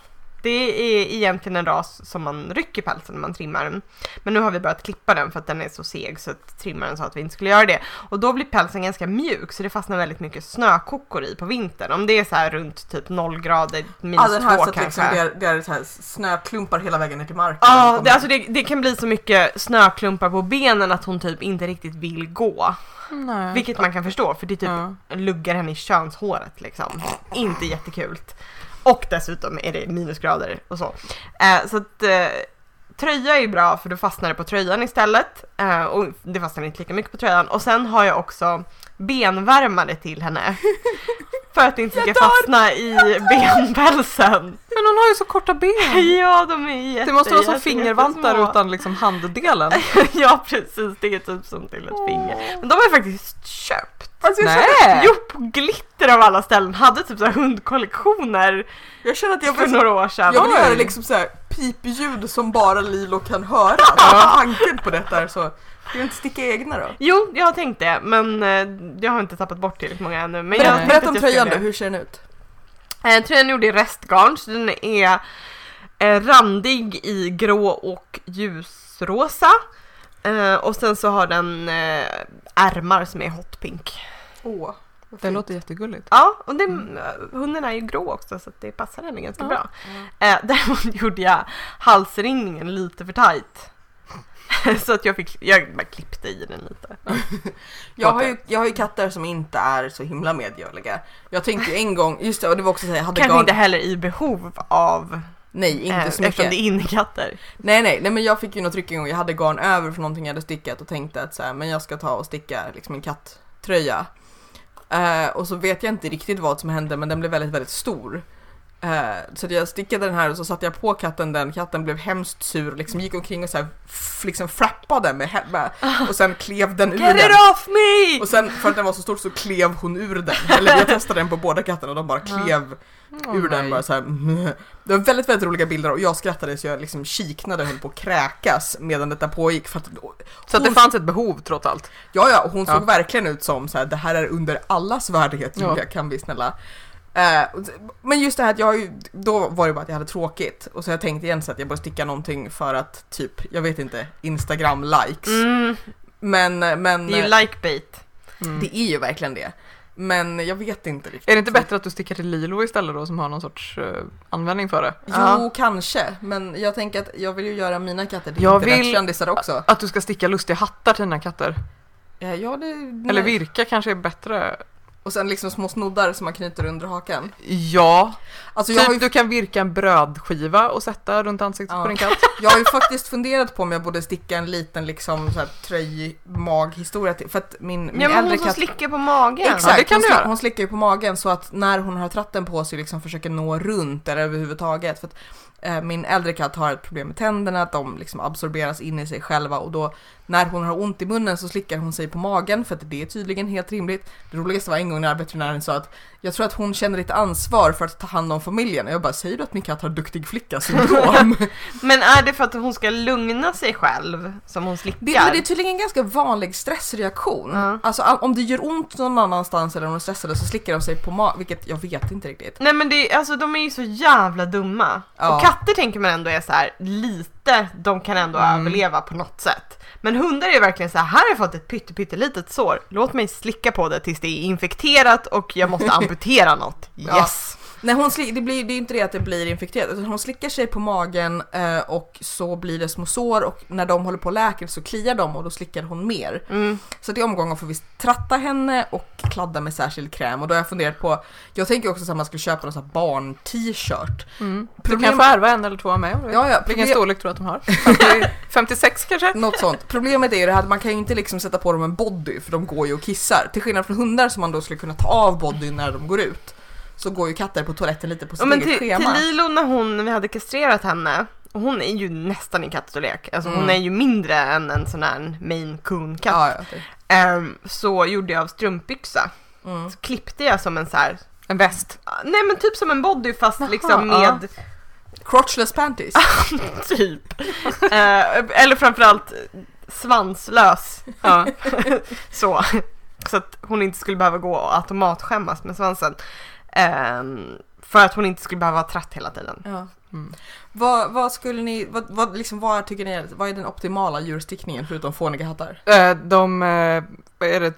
Speaker 2: Det är egentligen en ras som man rycker pälsen när man trimmar den. Men nu har vi börjat klippa den för att den är så seg så att trimmaren sa att vi inte skulle göra det. Och då blir pälsen ganska mjuk så det fastnar väldigt mycket snökokor i på vintern. Om det är så här runt typ 0 grader, minus
Speaker 1: Ja, den här
Speaker 2: två
Speaker 1: så att
Speaker 2: kanske.
Speaker 1: liksom, det är, det är så här snöklumpar hela vägen ner till marken.
Speaker 2: Ja, det, alltså det, det kan bli så mycket snöklumpar på benen att hon typ inte riktigt vill gå.
Speaker 3: Nej.
Speaker 2: Vilket man kan förstå för det är typ
Speaker 3: Ja.
Speaker 2: luggar henne i könshåret liksom. Inte jättekul. Och dessutom är det minusgrader och så. Eh, så att eh, tröja är ju bra för då fastnar det på tröjan istället. Eh, och det fastnar inte lika mycket på tröjan. Och sen har jag också benvärmare till henne. För att det inte ska fastna i benpälsen.
Speaker 3: Men hon har ju så korta ben.
Speaker 2: Ja, de är jätte,
Speaker 3: Det måste vara som
Speaker 2: jätte,
Speaker 3: fingervantar
Speaker 2: jättesmå.
Speaker 3: utan liksom handdelen.
Speaker 2: Ja, precis. Det är typ som till ett finger. Men de har jag faktiskt köpt.
Speaker 1: Alltså, jag,
Speaker 3: Nej.
Speaker 1: känner,
Speaker 2: Jo, på glitter av alla ställen hade typ så här hundkollektioner
Speaker 1: jag känner att jag
Speaker 2: för
Speaker 1: vill,
Speaker 2: några år sedan.
Speaker 1: jag vill
Speaker 3: Oj.
Speaker 1: göra liksom så här pipljud som bara Lilo kan höra. Alltså, tanken på detta är så. Du vill inte sticka egna då?
Speaker 2: Jo, jag har tänkt det, men eh, jag har inte tappat bort tillräckligt många ännu. Men jag
Speaker 3: Berätta-
Speaker 1: Berätta,
Speaker 2: tänkte
Speaker 1: berätta
Speaker 2: att
Speaker 1: om
Speaker 2: jag
Speaker 1: tröjan
Speaker 2: skulle
Speaker 1: då,
Speaker 2: det.
Speaker 1: hur ser den ut?
Speaker 2: Eh, tröjan är gjord i restgarn, så den är eh, randig i grå och ljusrosa. Eh, och sen så har den eh, ärmar som är hotpink.
Speaker 1: Åh, vad
Speaker 3: Det
Speaker 1: fint.
Speaker 3: låter jättegulligt.
Speaker 2: Ja, och det,
Speaker 1: Mm.
Speaker 2: hunden är ju grå också så att det passar henne ganska
Speaker 3: Ja.
Speaker 2: bra. Eh, däremot gjorde jag halsringningen lite för tajt. så att jag fick, jag bara klippte i den lite.
Speaker 1: Jag har, ju, jag har ju katter som inte är så himla medgörliga. Jag tänkte ju en gång, just det, och det var också så här, jag hade
Speaker 2: Kanske
Speaker 1: garn-
Speaker 2: inte heller i behov av,
Speaker 1: Nej, inte
Speaker 2: eh,
Speaker 1: så
Speaker 2: eftersom
Speaker 1: mycket.
Speaker 2: det är innekatter.
Speaker 1: Nej, nej, nej, men jag fick ju något tryck en gång. Jag hade garn över för någonting jag hade stickat och tänkte att så här, men jag ska ta och sticka liksom en katttröja. Eh, och så vet jag inte riktigt vad som hände, men den blev väldigt, väldigt stor. Eh, så att jag stickade den här och så satte jag på katten den. Katten blev hemskt sur, liksom gick omkring och så här, f- liksom frappade med, hä- med och sen klev den ur
Speaker 2: Ah. Get
Speaker 1: den.
Speaker 2: it off me!
Speaker 1: Och sen för att den var så stor så klev hon ur den. Eller jag testade den på båda katterna och de bara
Speaker 2: Ah.
Speaker 1: klev ur den bara så här. "Mm." Det var väldigt, väldigt roliga bilder och jag skrattade så jag liksom kiknade och höll på att kräkas medan detta pågick. För att,
Speaker 3: Så att det fanns ett behov trots allt.
Speaker 1: ja, ja, och hon
Speaker 3: Ja.
Speaker 1: såg verkligen ut som så här, det här är under allas värdighet
Speaker 3: Ja.
Speaker 1: Julia, kan vi snälla. Eh, och- men just det här att jag har ju, då var det bara att jag hade tråkigt och så har jag tänkt igen så att jag borde sticka någonting för att typ, jag vet inte, Instagram-likes.
Speaker 2: Mm,
Speaker 1: Men, eh, men
Speaker 2: det är ju likebait.
Speaker 3: Mm.
Speaker 1: det är ju verkligen det. Men jag vet inte riktigt.
Speaker 3: Är det inte bättre att du stickar till Lilo istället då som har någon sorts eh, användning för det?
Speaker 1: Jo,
Speaker 2: Ja.
Speaker 1: kanske. Men jag tänker att jag vill ju göra mina katter till
Speaker 3: Jag
Speaker 1: internetkändisar också.
Speaker 3: Att du ska sticka lustiga hattar till dina katter?
Speaker 1: Ja, ja, det, nej.
Speaker 3: Eller virka kanske är bättre?
Speaker 1: Och sen liksom små snoddar som man knyter under hakan.
Speaker 3: Ja,
Speaker 1: Alltså jag har,
Speaker 3: typ
Speaker 1: ju,
Speaker 3: du kan virka en brödskiva och sätta runt ansiktet
Speaker 1: Ja.
Speaker 3: på din katt.
Speaker 1: jag har ju faktiskt funderat på om jag borde sticka en liten liksom så här tröjmaghistoria till. För att min, min
Speaker 2: Ja, men
Speaker 1: äldre
Speaker 2: hon som
Speaker 1: katt...
Speaker 2: slickar på magen.
Speaker 1: Exakt,
Speaker 3: Ja, det kan
Speaker 1: hon,
Speaker 3: du
Speaker 1: slick,
Speaker 3: göra.
Speaker 1: hon slickar ju på magen så att när hon har tratten på sig liksom försöker nå runt eller överhuvudtaget. För att eh, min äldre katt har ett problem med tänderna, att de liksom absorberas in i sig själva och då när hon har ont i munnen så slickar hon sig på magen för att det är tydligen helt rimligt. Det roligaste var en gång när veterinären sa att jag tror att hon känner ett ansvar för att ta hand om familjen. Och jag bara, säger du att min katt har duktig flicka syndrom?
Speaker 2: Men är det för att hon ska lugna sig själv som hon slickar?
Speaker 1: det, men det är tydligen en ganska vanlig stressreaktion.
Speaker 2: Ja.
Speaker 1: Alltså all- om det gör ont någon annanstans eller om de är stressade så slickar de sig på magen, vilket jag vet inte riktigt.
Speaker 2: Nej men det, är- alltså de är ju så jävla dumma.
Speaker 1: Ja.
Speaker 2: Och katter tänker man ändå är så här lite, de kan ändå
Speaker 3: Mm.
Speaker 2: överleva på något sätt. Men hundar är ju verkligen så här, här har jag fått ett pytte- pyttelitet sår, låt mig slicka på det tills det är infekterat och jag måste amputera något.
Speaker 1: Ja.
Speaker 2: Yes!
Speaker 1: Nej, hon slick, det, blir, det är inte det att det blir infekterat, utan hon slickar sig på magen eh, och så blir det små sår och när de håller på och läker så kliar de och då slickar hon mer.
Speaker 2: Mm.
Speaker 1: Så det är omgången får vi tratta henne och kladda med särskild kräm och då har jag funderat på, jag tänker också att man skulle köpa någon sån här barn-t-shirt.
Speaker 3: Mm. Du
Speaker 1: Problem-
Speaker 3: kan få ärva en eller två av mig om du vill.
Speaker 1: Ja, ja,
Speaker 3: Vilken
Speaker 1: problem-
Speaker 3: storlek tror du att de har? 50, 56 kanske?
Speaker 1: Något sånt. Problemet är ju det här att man kan ju inte liksom sätta på dem en body för de går ju och kissar. Till skillnad från hundar som man då skulle kunna ta av bodyn när de går ut. Så går ju katter på toaletten lite på
Speaker 2: Ja,
Speaker 1: sitt
Speaker 2: men
Speaker 1: eget
Speaker 2: till,
Speaker 1: schema.
Speaker 2: till Lilo när hon, när vi hade kastrerat henne, och hon är ju nästan i kattstorlek, alltså hon
Speaker 1: Mm.
Speaker 2: är ju mindre än en sån här main coon katt.
Speaker 1: ja, ja, det-
Speaker 2: Ehm, så gjorde jag av strumpbyxa,
Speaker 1: mm.
Speaker 2: så klippte jag som en så här
Speaker 3: En väst.
Speaker 2: Nej men typ som en body fast
Speaker 1: Jaha,
Speaker 2: liksom
Speaker 1: ja.
Speaker 2: med
Speaker 1: Crotchless panties.
Speaker 2: Ah. typ. eh, eller framförallt svanslös.
Speaker 3: Ja.
Speaker 2: Så. så att hon inte skulle behöva gå och automatskämmas med svansen. Ehm, för att hon inte skulle behöva vara trött hela tiden.
Speaker 1: Ja.
Speaker 3: Mm.
Speaker 1: Vad, vad skulle ni, vad, vad, liksom, vad tycker ni, är- vad är den optimala djurstickningen förutom fåniga hattar?
Speaker 3: Eh, De, eh, vad är det,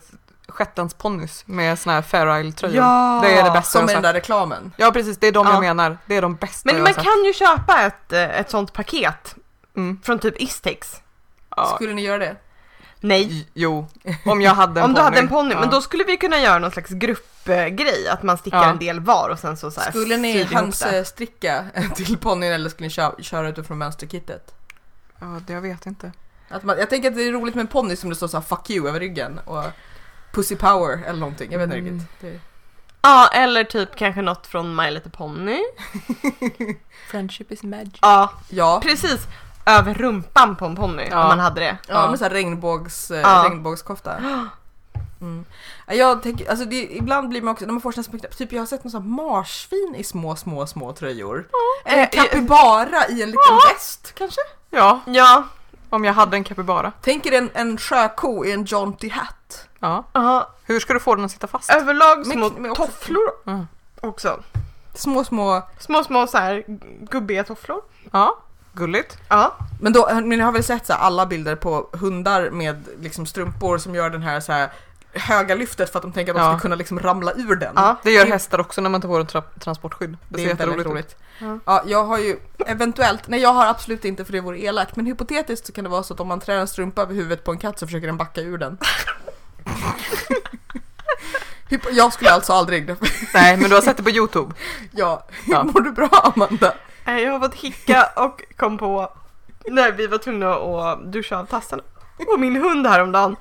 Speaker 3: shetlandsponnys med såna här Fair Isle-tröjor.
Speaker 2: Ja.
Speaker 3: Det är det bästa
Speaker 1: Som
Speaker 3: jag
Speaker 1: i den
Speaker 3: har
Speaker 1: där
Speaker 3: sett.
Speaker 1: reklamen.
Speaker 3: Ja precis, det är de
Speaker 2: Ja.
Speaker 3: jag menar. Det är de bästa
Speaker 2: Men
Speaker 3: jag
Speaker 2: man
Speaker 3: har
Speaker 2: kan ju köpa ett, eh, ett sånt paket
Speaker 3: sett. Mm.
Speaker 2: från typ Istex.
Speaker 3: Ja.
Speaker 1: Skulle ni göra det?
Speaker 2: Nej.
Speaker 3: J- Jo, om jag hade en
Speaker 2: Om du hade en ponny,
Speaker 3: Ja.
Speaker 2: men då skulle vi kunna göra någon slags gruppgrej, att man stickar
Speaker 3: Ja.
Speaker 2: en del var och sen så, så här
Speaker 1: Skulle ni
Speaker 2: syr vi ihop det.
Speaker 1: hönsstricka till ponnyn eller skulle ni köra, köra utifrån mönsterkittet?
Speaker 3: Ja, det jag vet inte.
Speaker 1: Att man, jag tänker att det är roligt med en ponny som det står så här 'fuck you' över ryggen och 'pussy power' eller någonting, jag vet inte
Speaker 3: Mm.
Speaker 1: riktigt. Det,
Speaker 2: Ja, eller typ kanske något från My Little Pony.
Speaker 3: Friendship is magic.
Speaker 2: Ja,
Speaker 1: ja.
Speaker 2: precis. Över rumpan på en ponny,
Speaker 3: Ja.
Speaker 2: om man hade det.
Speaker 1: Ja, men såhär regnbågs, eh,
Speaker 2: Ja.
Speaker 1: regnbågskofta. Mm. Ja, Jag tänker, alltså det, ibland blir man också, när man får sina små typ jag har sett någon sån här marsvin i små, små, små tröjor. Eller en
Speaker 2: Eh, eh,
Speaker 1: kapybara i en liten väst kanske?
Speaker 3: Ja,
Speaker 2: Ja,
Speaker 3: om jag hade en capybara.
Speaker 1: Tänker en, en sjöko i en jaunty hat.
Speaker 3: Ja.
Speaker 2: ja.
Speaker 3: Hur ska du få den att sitta fast?
Speaker 2: överlag
Speaker 1: Men-
Speaker 2: små
Speaker 1: men också-
Speaker 2: tofflor
Speaker 3: Mm.
Speaker 2: också.
Speaker 1: Små, små,
Speaker 2: Små, små så här gubbiga tofflor.
Speaker 3: Ja, gulligt.
Speaker 2: Ja.
Speaker 1: men då, men ni har väl sett så här, alla bilder på hundar med liksom strumpor som gör den här så här höga lyftet för att de tänker att de
Speaker 3: Ja.
Speaker 1: ska kunna liksom ramla ur den.
Speaker 2: ja.
Speaker 3: Det gör hästar också när man tar på dem tra- transportskydd. Det,
Speaker 1: Det
Speaker 3: ser
Speaker 1: är väldigt
Speaker 3: jätteroligt ut.
Speaker 1: roligt.
Speaker 2: Ja.
Speaker 1: Alltså, Ja, jag har ju eventuellt, nej jag har absolut inte för det vore elakt, men hypotetiskt så kan det vara så att om man trär en strumpa över huvudet på en katt så försöker den backa ur den. Hypo- jag skulle alltså aldrig,
Speaker 3: Nej, men du har sett det på YouTube.
Speaker 1: ja,
Speaker 3: Ja.
Speaker 1: mår du bra Amanda?
Speaker 2: Eh, Jag har fått hicka och kom på när vi var tvungna att duscha av tassarna på min hund häromdagen.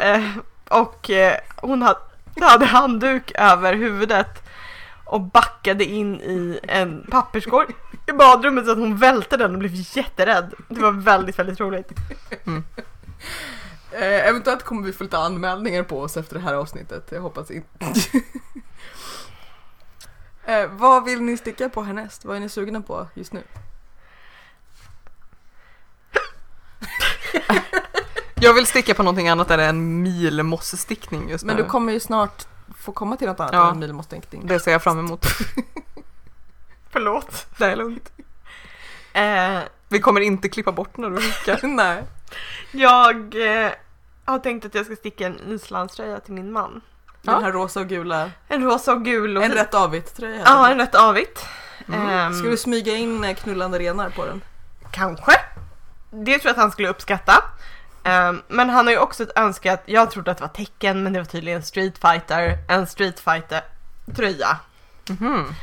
Speaker 2: Eh, och eh, hon hade, hade handduk över huvudet och backade in i en papperskorg i badrummet så att hon välte den och blev jätterädd. Det var väldigt, väldigt roligt.
Speaker 1: Eh, eventuellt kommer vi få lite anmälningar på oss efter det här avsnittet, jag hoppas inte. eh, vad vill ni sticka på härnäst? Vad är ni sugna på just nu?
Speaker 3: Jag vill sticka på någonting annat än en milmossestickning just
Speaker 1: Men
Speaker 3: nu.
Speaker 1: du kommer ju snart få komma till något annat
Speaker 3: Ja.
Speaker 1: än en milmåstänkning.
Speaker 3: Det ser jag fram emot.
Speaker 2: Förlåt.
Speaker 3: Det är lugnt.
Speaker 2: Eh,
Speaker 3: Vi kommer inte klippa bort när du hickar.
Speaker 1: Nej.
Speaker 2: jag eh, har tänkt att jag ska sticka en islandströja till min man.
Speaker 1: Den här rosa och gula.
Speaker 2: En rosa och gul och
Speaker 1: En
Speaker 2: vit.
Speaker 1: rätt avigt tröja.
Speaker 2: Ja, en rätt avigt.
Speaker 3: Mm.
Speaker 2: Ehm,
Speaker 1: Ska du smyga in eh, knullande renar på den?
Speaker 2: Kanske. Det tror jag att han skulle uppskatta. Ehm, men han har ju också ett önskat, att jag trodde att det var tecken men det var tydligen Street Fighter, en Street Fighter tröja.
Speaker 3: Mhm.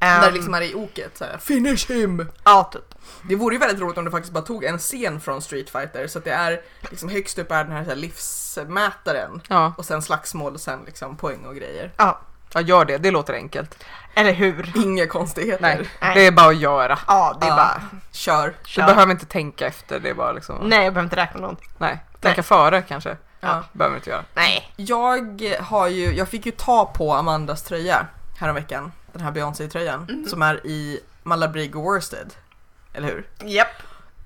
Speaker 2: Ehm,
Speaker 1: Där det liksom är i oket såhär, finish him!
Speaker 2: Ja, typ.
Speaker 1: Det vore ju väldigt roligt om du faktiskt bara tog en scen från Street Fighter så att det är liksom högst upp är den här, så här livsmätaren
Speaker 3: Ja.
Speaker 1: och sen slagsmål och sen liksom poäng och grejer.
Speaker 2: Ja,
Speaker 3: ja, gör det. Det låter enkelt.
Speaker 2: eller hur?
Speaker 1: Inga konstigheter.
Speaker 3: Nej,
Speaker 2: Nej.
Speaker 3: det är bara att göra.
Speaker 2: Ja, det är
Speaker 1: Ja.
Speaker 2: bara...
Speaker 1: Kör.
Speaker 3: Du behöver inte tänka efter. Det är bara liksom...
Speaker 2: Nej, jag behöver inte räkna någonting.
Speaker 3: Nej. Tänka före kanske.
Speaker 1: Ja.
Speaker 3: Behöver du inte göra.
Speaker 2: Nej.
Speaker 1: Jag har ju, jag fick ju ta på Amandas tröja häromveckan. Den här Beyoncé-tröjan
Speaker 2: Mm.
Speaker 1: som är i Malabrigo Worsted. Eller hur?
Speaker 2: Japp.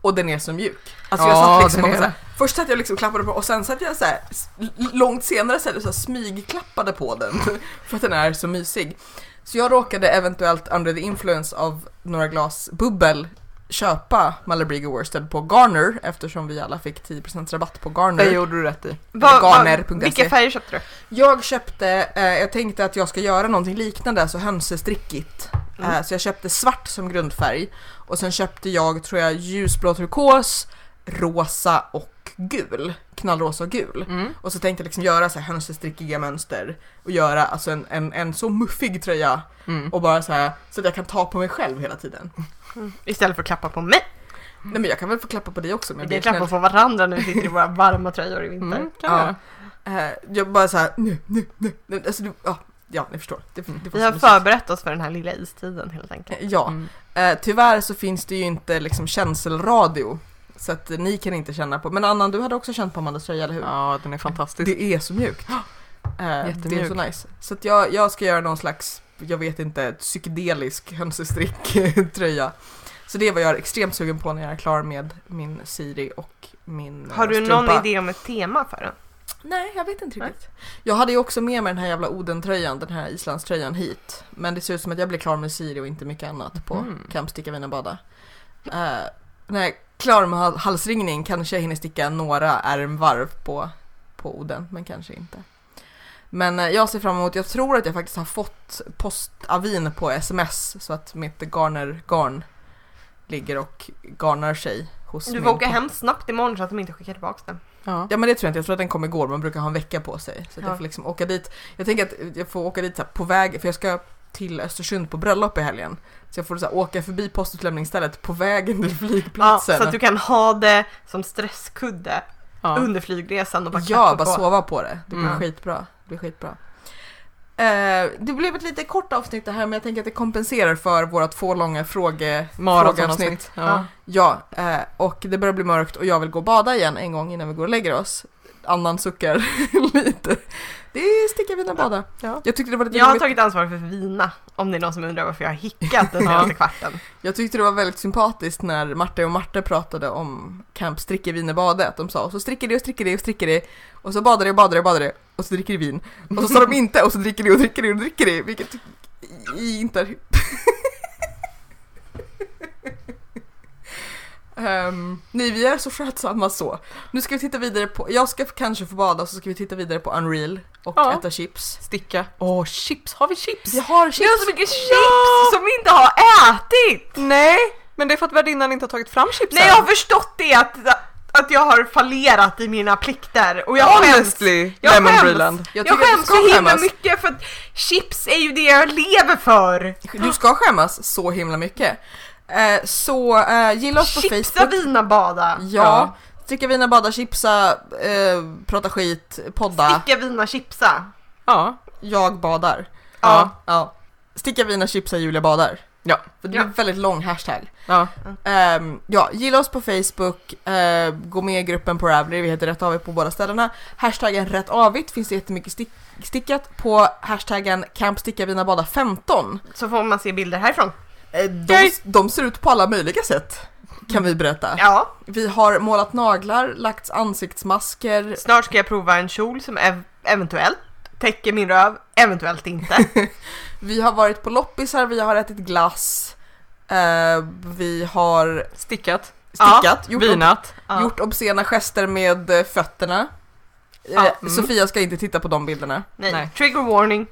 Speaker 1: Och den är så mjuk. Alltså jag
Speaker 3: Ja,
Speaker 1: satt liksom
Speaker 3: den
Speaker 1: och
Speaker 3: är
Speaker 1: så här,
Speaker 3: det.
Speaker 1: först satt jag liksom och klappade på och sen satt jag så här, s- långt senare så, här, så här, smygklappade på den för att den är så mysig. Så jag råkade eventuellt under the influence av några glas bubbel köpa Malabrigo Worsted på Garner eftersom vi alla fick 10% rabatt på Garner.
Speaker 3: Det gjorde du rätt i.
Speaker 2: Vad- vad-
Speaker 1: Garner.se.
Speaker 2: Vilka färger köpte du?
Speaker 1: Jag köpte, eh, jag tänkte att jag ska göra någonting liknande, så hönsestrickigt.
Speaker 2: Mm.
Speaker 1: Eh, så jag köpte svart som grundfärg och sen köpte jag, tror jag, ljusblå turkos, rosa och gul. Knallrosa och gul.
Speaker 3: Mm.
Speaker 1: Och så tänkte jag liksom göra så här hönsestrickiga mönster och göra alltså en, en, en så muffig tröja
Speaker 3: Mm.
Speaker 1: och bara så här så att jag kan ta på mig själv hela tiden.
Speaker 2: Istället för att klappa på mig.
Speaker 1: Nej men jag kan väl få klappa på dig också men jag
Speaker 2: Vi
Speaker 1: blir
Speaker 2: klappar
Speaker 1: snäll.
Speaker 2: på varandra när vi sitter i våra varma tröjor i vinter.
Speaker 3: Mm, kan
Speaker 1: Ja.
Speaker 3: jag.
Speaker 1: Eh, jag bara så här nu, nu, nu, nu. Alltså, du, ja, ja, ni förstår. Det, det var
Speaker 2: Vi
Speaker 1: så
Speaker 2: har
Speaker 1: mysigt.
Speaker 2: förberett oss för den här lilla istiden helt enkelt.
Speaker 1: Ja.
Speaker 3: Mm.
Speaker 1: Eh, tyvärr så finns det ju inte liksom känselradio. Så att eh, ni kan inte känna på. Men Annan, du hade också känt på Amandas tröja, eller hur?
Speaker 3: Ja, den är fantastisk.
Speaker 1: Det är så mjukt. Eh, det är
Speaker 3: Jättemjuk.
Speaker 1: så nice. Så att jag, jag ska göra någon slags, jag vet inte, psykedelisk hönsestrick-tröja. Så det var jag extremt sugen på när jag är klar med min Siri och min eh,
Speaker 2: Har du
Speaker 1: strumpa.
Speaker 2: någon idé om ett tema för den?
Speaker 1: Nej, jag vet inte riktigt. Jag hade ju också med mig den här jävla Oden-tröjan, den här Islandströjan hit. Men det ser ut som att jag blir klar med Siri och inte mycket annat på
Speaker 3: Mm.
Speaker 1: Camp Sticka Vina Bada. Eh, när jag är klar med hal- halsringning kanske jag hinner sticka några ärmvarv på, på Oden, men kanske inte. Men eh, jag ser fram emot, jag tror att jag faktiskt har fått postavin på sms så att mitt garner-garn ligger och garnar sig hos
Speaker 2: Du
Speaker 1: min
Speaker 2: får åka hem snabbt imorgon så att de inte skickar tillbaka den.
Speaker 3: Ja.
Speaker 1: Ja men det tror jag inte, jag tror att den kommer igår, man brukar ha en vecka på sig. Så att
Speaker 2: Ja.
Speaker 1: jag får liksom åka dit. Jag tänker att jag får åka dit så här på väg, för jag ska till Östersund på bröllop i helgen. Så jag får så här åka förbi postutlämningsstället på vägen till
Speaker 2: Ja,
Speaker 1: flygplatsen.
Speaker 2: så att du kan ha det som stresskudde
Speaker 3: Ja.
Speaker 2: under flygresan och bara
Speaker 1: ja,
Speaker 2: klappa
Speaker 1: bara
Speaker 2: på.
Speaker 1: sova på det. Det blir
Speaker 3: Mm.
Speaker 1: skitbra. Det blir skitbra. Eh, det blev ett lite kort avsnitt det här men jag tänker att det kompenserar för våra två långa fråge... frågeavsnitt.
Speaker 3: Maratonavsnitt. Ja.
Speaker 2: Ja.
Speaker 1: Ja, eh, och det börjar bli mörkt och jag vill gå och bada igen en gång innan vi går och lägger oss. Annan suckar lite. Det är sticka vina bada.
Speaker 3: Ja.
Speaker 1: Jag tyckte det var lite
Speaker 2: Jag har
Speaker 1: roligt.
Speaker 2: tagit ansvar för vina, om det är någon som undrar varför jag har hickat den senaste kvarten.
Speaker 1: Jag tyckte det var väldigt sympatiskt när Marta och Marta pratade om Camp Stricke vin i badet. De sa och så stricker det och stricker det och stricker det och så badar det och badar det och badar det och så dricker det vin. Och så sa de inte och så dricker det och dricker det och dricker det vilket i- i- inte är ihop. Ehm, nej, vi är så skötsamma så. Nu ska vi titta vidare på, jag ska kanske få bada så ska vi titta vidare på Unreal och
Speaker 3: Ja.
Speaker 1: äta chips.
Speaker 3: Sticka. Åh, chips! Har vi chips?
Speaker 1: Jag har
Speaker 2: Jag
Speaker 1: chips!
Speaker 2: har så mycket chips som vi inte har ätit!
Speaker 3: Nej, men det är för att värdinnan inte har tagit fram chipsen.
Speaker 2: Nej, jag har förstått det att, att jag har fallerat i mina plikter och jag skäms.
Speaker 3: Honestly,
Speaker 2: Jag
Speaker 3: Lemon
Speaker 2: skäms.
Speaker 3: Breland.
Speaker 1: Jag
Speaker 2: Jag,
Speaker 1: tycker att du
Speaker 2: skäms
Speaker 1: ska
Speaker 2: så himla
Speaker 1: skämmas.
Speaker 2: mycket för att chips är ju det jag lever för.
Speaker 1: Du ska skämmas så himla mycket. Eh, så eh, gilla oss på
Speaker 2: Chipsa,
Speaker 1: Facebook.
Speaker 2: vina, bada.
Speaker 1: Ja. Dricka vina, bada, chipsa, eh, prata skit, podda.
Speaker 2: Sticka, vina, chipsa.
Speaker 3: Ja.
Speaker 1: Jag badar.
Speaker 3: Ja.
Speaker 1: Ja. Sticka vina, chipsa, Julia badar.
Speaker 3: Ja.
Speaker 1: För det är en
Speaker 2: Ja.
Speaker 1: väldigt lång hashtag.
Speaker 3: ja.
Speaker 1: Ehm, ja, gilla oss på Facebook, eh, gå med i gruppen på Ravelry, vi heter Rätt Avigt på båda ställena. Hashtaggen Rätt Avigt finns det jättemycket stick- stickat på hashtaggen Camp Sticka Vina Bada 15.
Speaker 2: Så får man se bilder härifrån.
Speaker 1: Eh, De,
Speaker 3: Yay!
Speaker 1: de ser ut på alla möjliga sätt, kan vi berätta.
Speaker 2: Ja.
Speaker 1: Vi har målat naglar, lagt ansiktsmasker.
Speaker 2: Snart ska jag prova en kjol som ev- eventuellt täcker min röv, eventuellt inte.
Speaker 1: Vi har varit på loppisar, vi har ätit glass. Eh, vi har
Speaker 3: Stickat.
Speaker 1: stickat, gjort, ob-
Speaker 3: Vinat.
Speaker 2: Ja.
Speaker 1: gjort obscena gester med eh, fötterna. Eh,
Speaker 3: Ja, mm.
Speaker 1: Sofia ska inte titta på de bilderna.
Speaker 2: Nej.
Speaker 3: Nej.
Speaker 2: Trigger warning.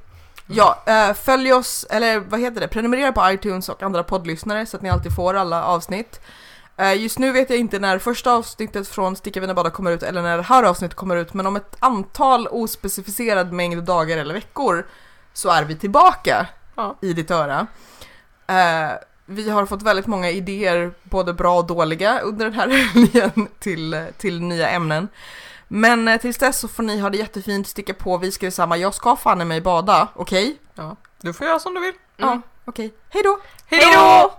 Speaker 1: Ja, eh, följ oss, eller vad heter det, prenumerera på iTunes och andra poddlyssnare så att ni alltid får alla avsnitt. Eh, Just nu vet jag inte när första avsnittet från Sticka Vina Bada kommer ut eller när det här avsnittet kommer ut men om ett antal ospecificerad mängd dagar eller veckor så är vi tillbaka
Speaker 3: Ja.
Speaker 1: i ditt öra. Eh, Vi har fått väldigt många idéer, både bra och dåliga, under den här helgen till, till nya ämnen. Men eh, tills dess så får ni ha det jättefint, sticka på, vi ska detsamma. Jag ska fan i mig bada, okej?
Speaker 3: Du får göra som du vill.
Speaker 1: Ja, okej. Hej då!
Speaker 2: Hej då!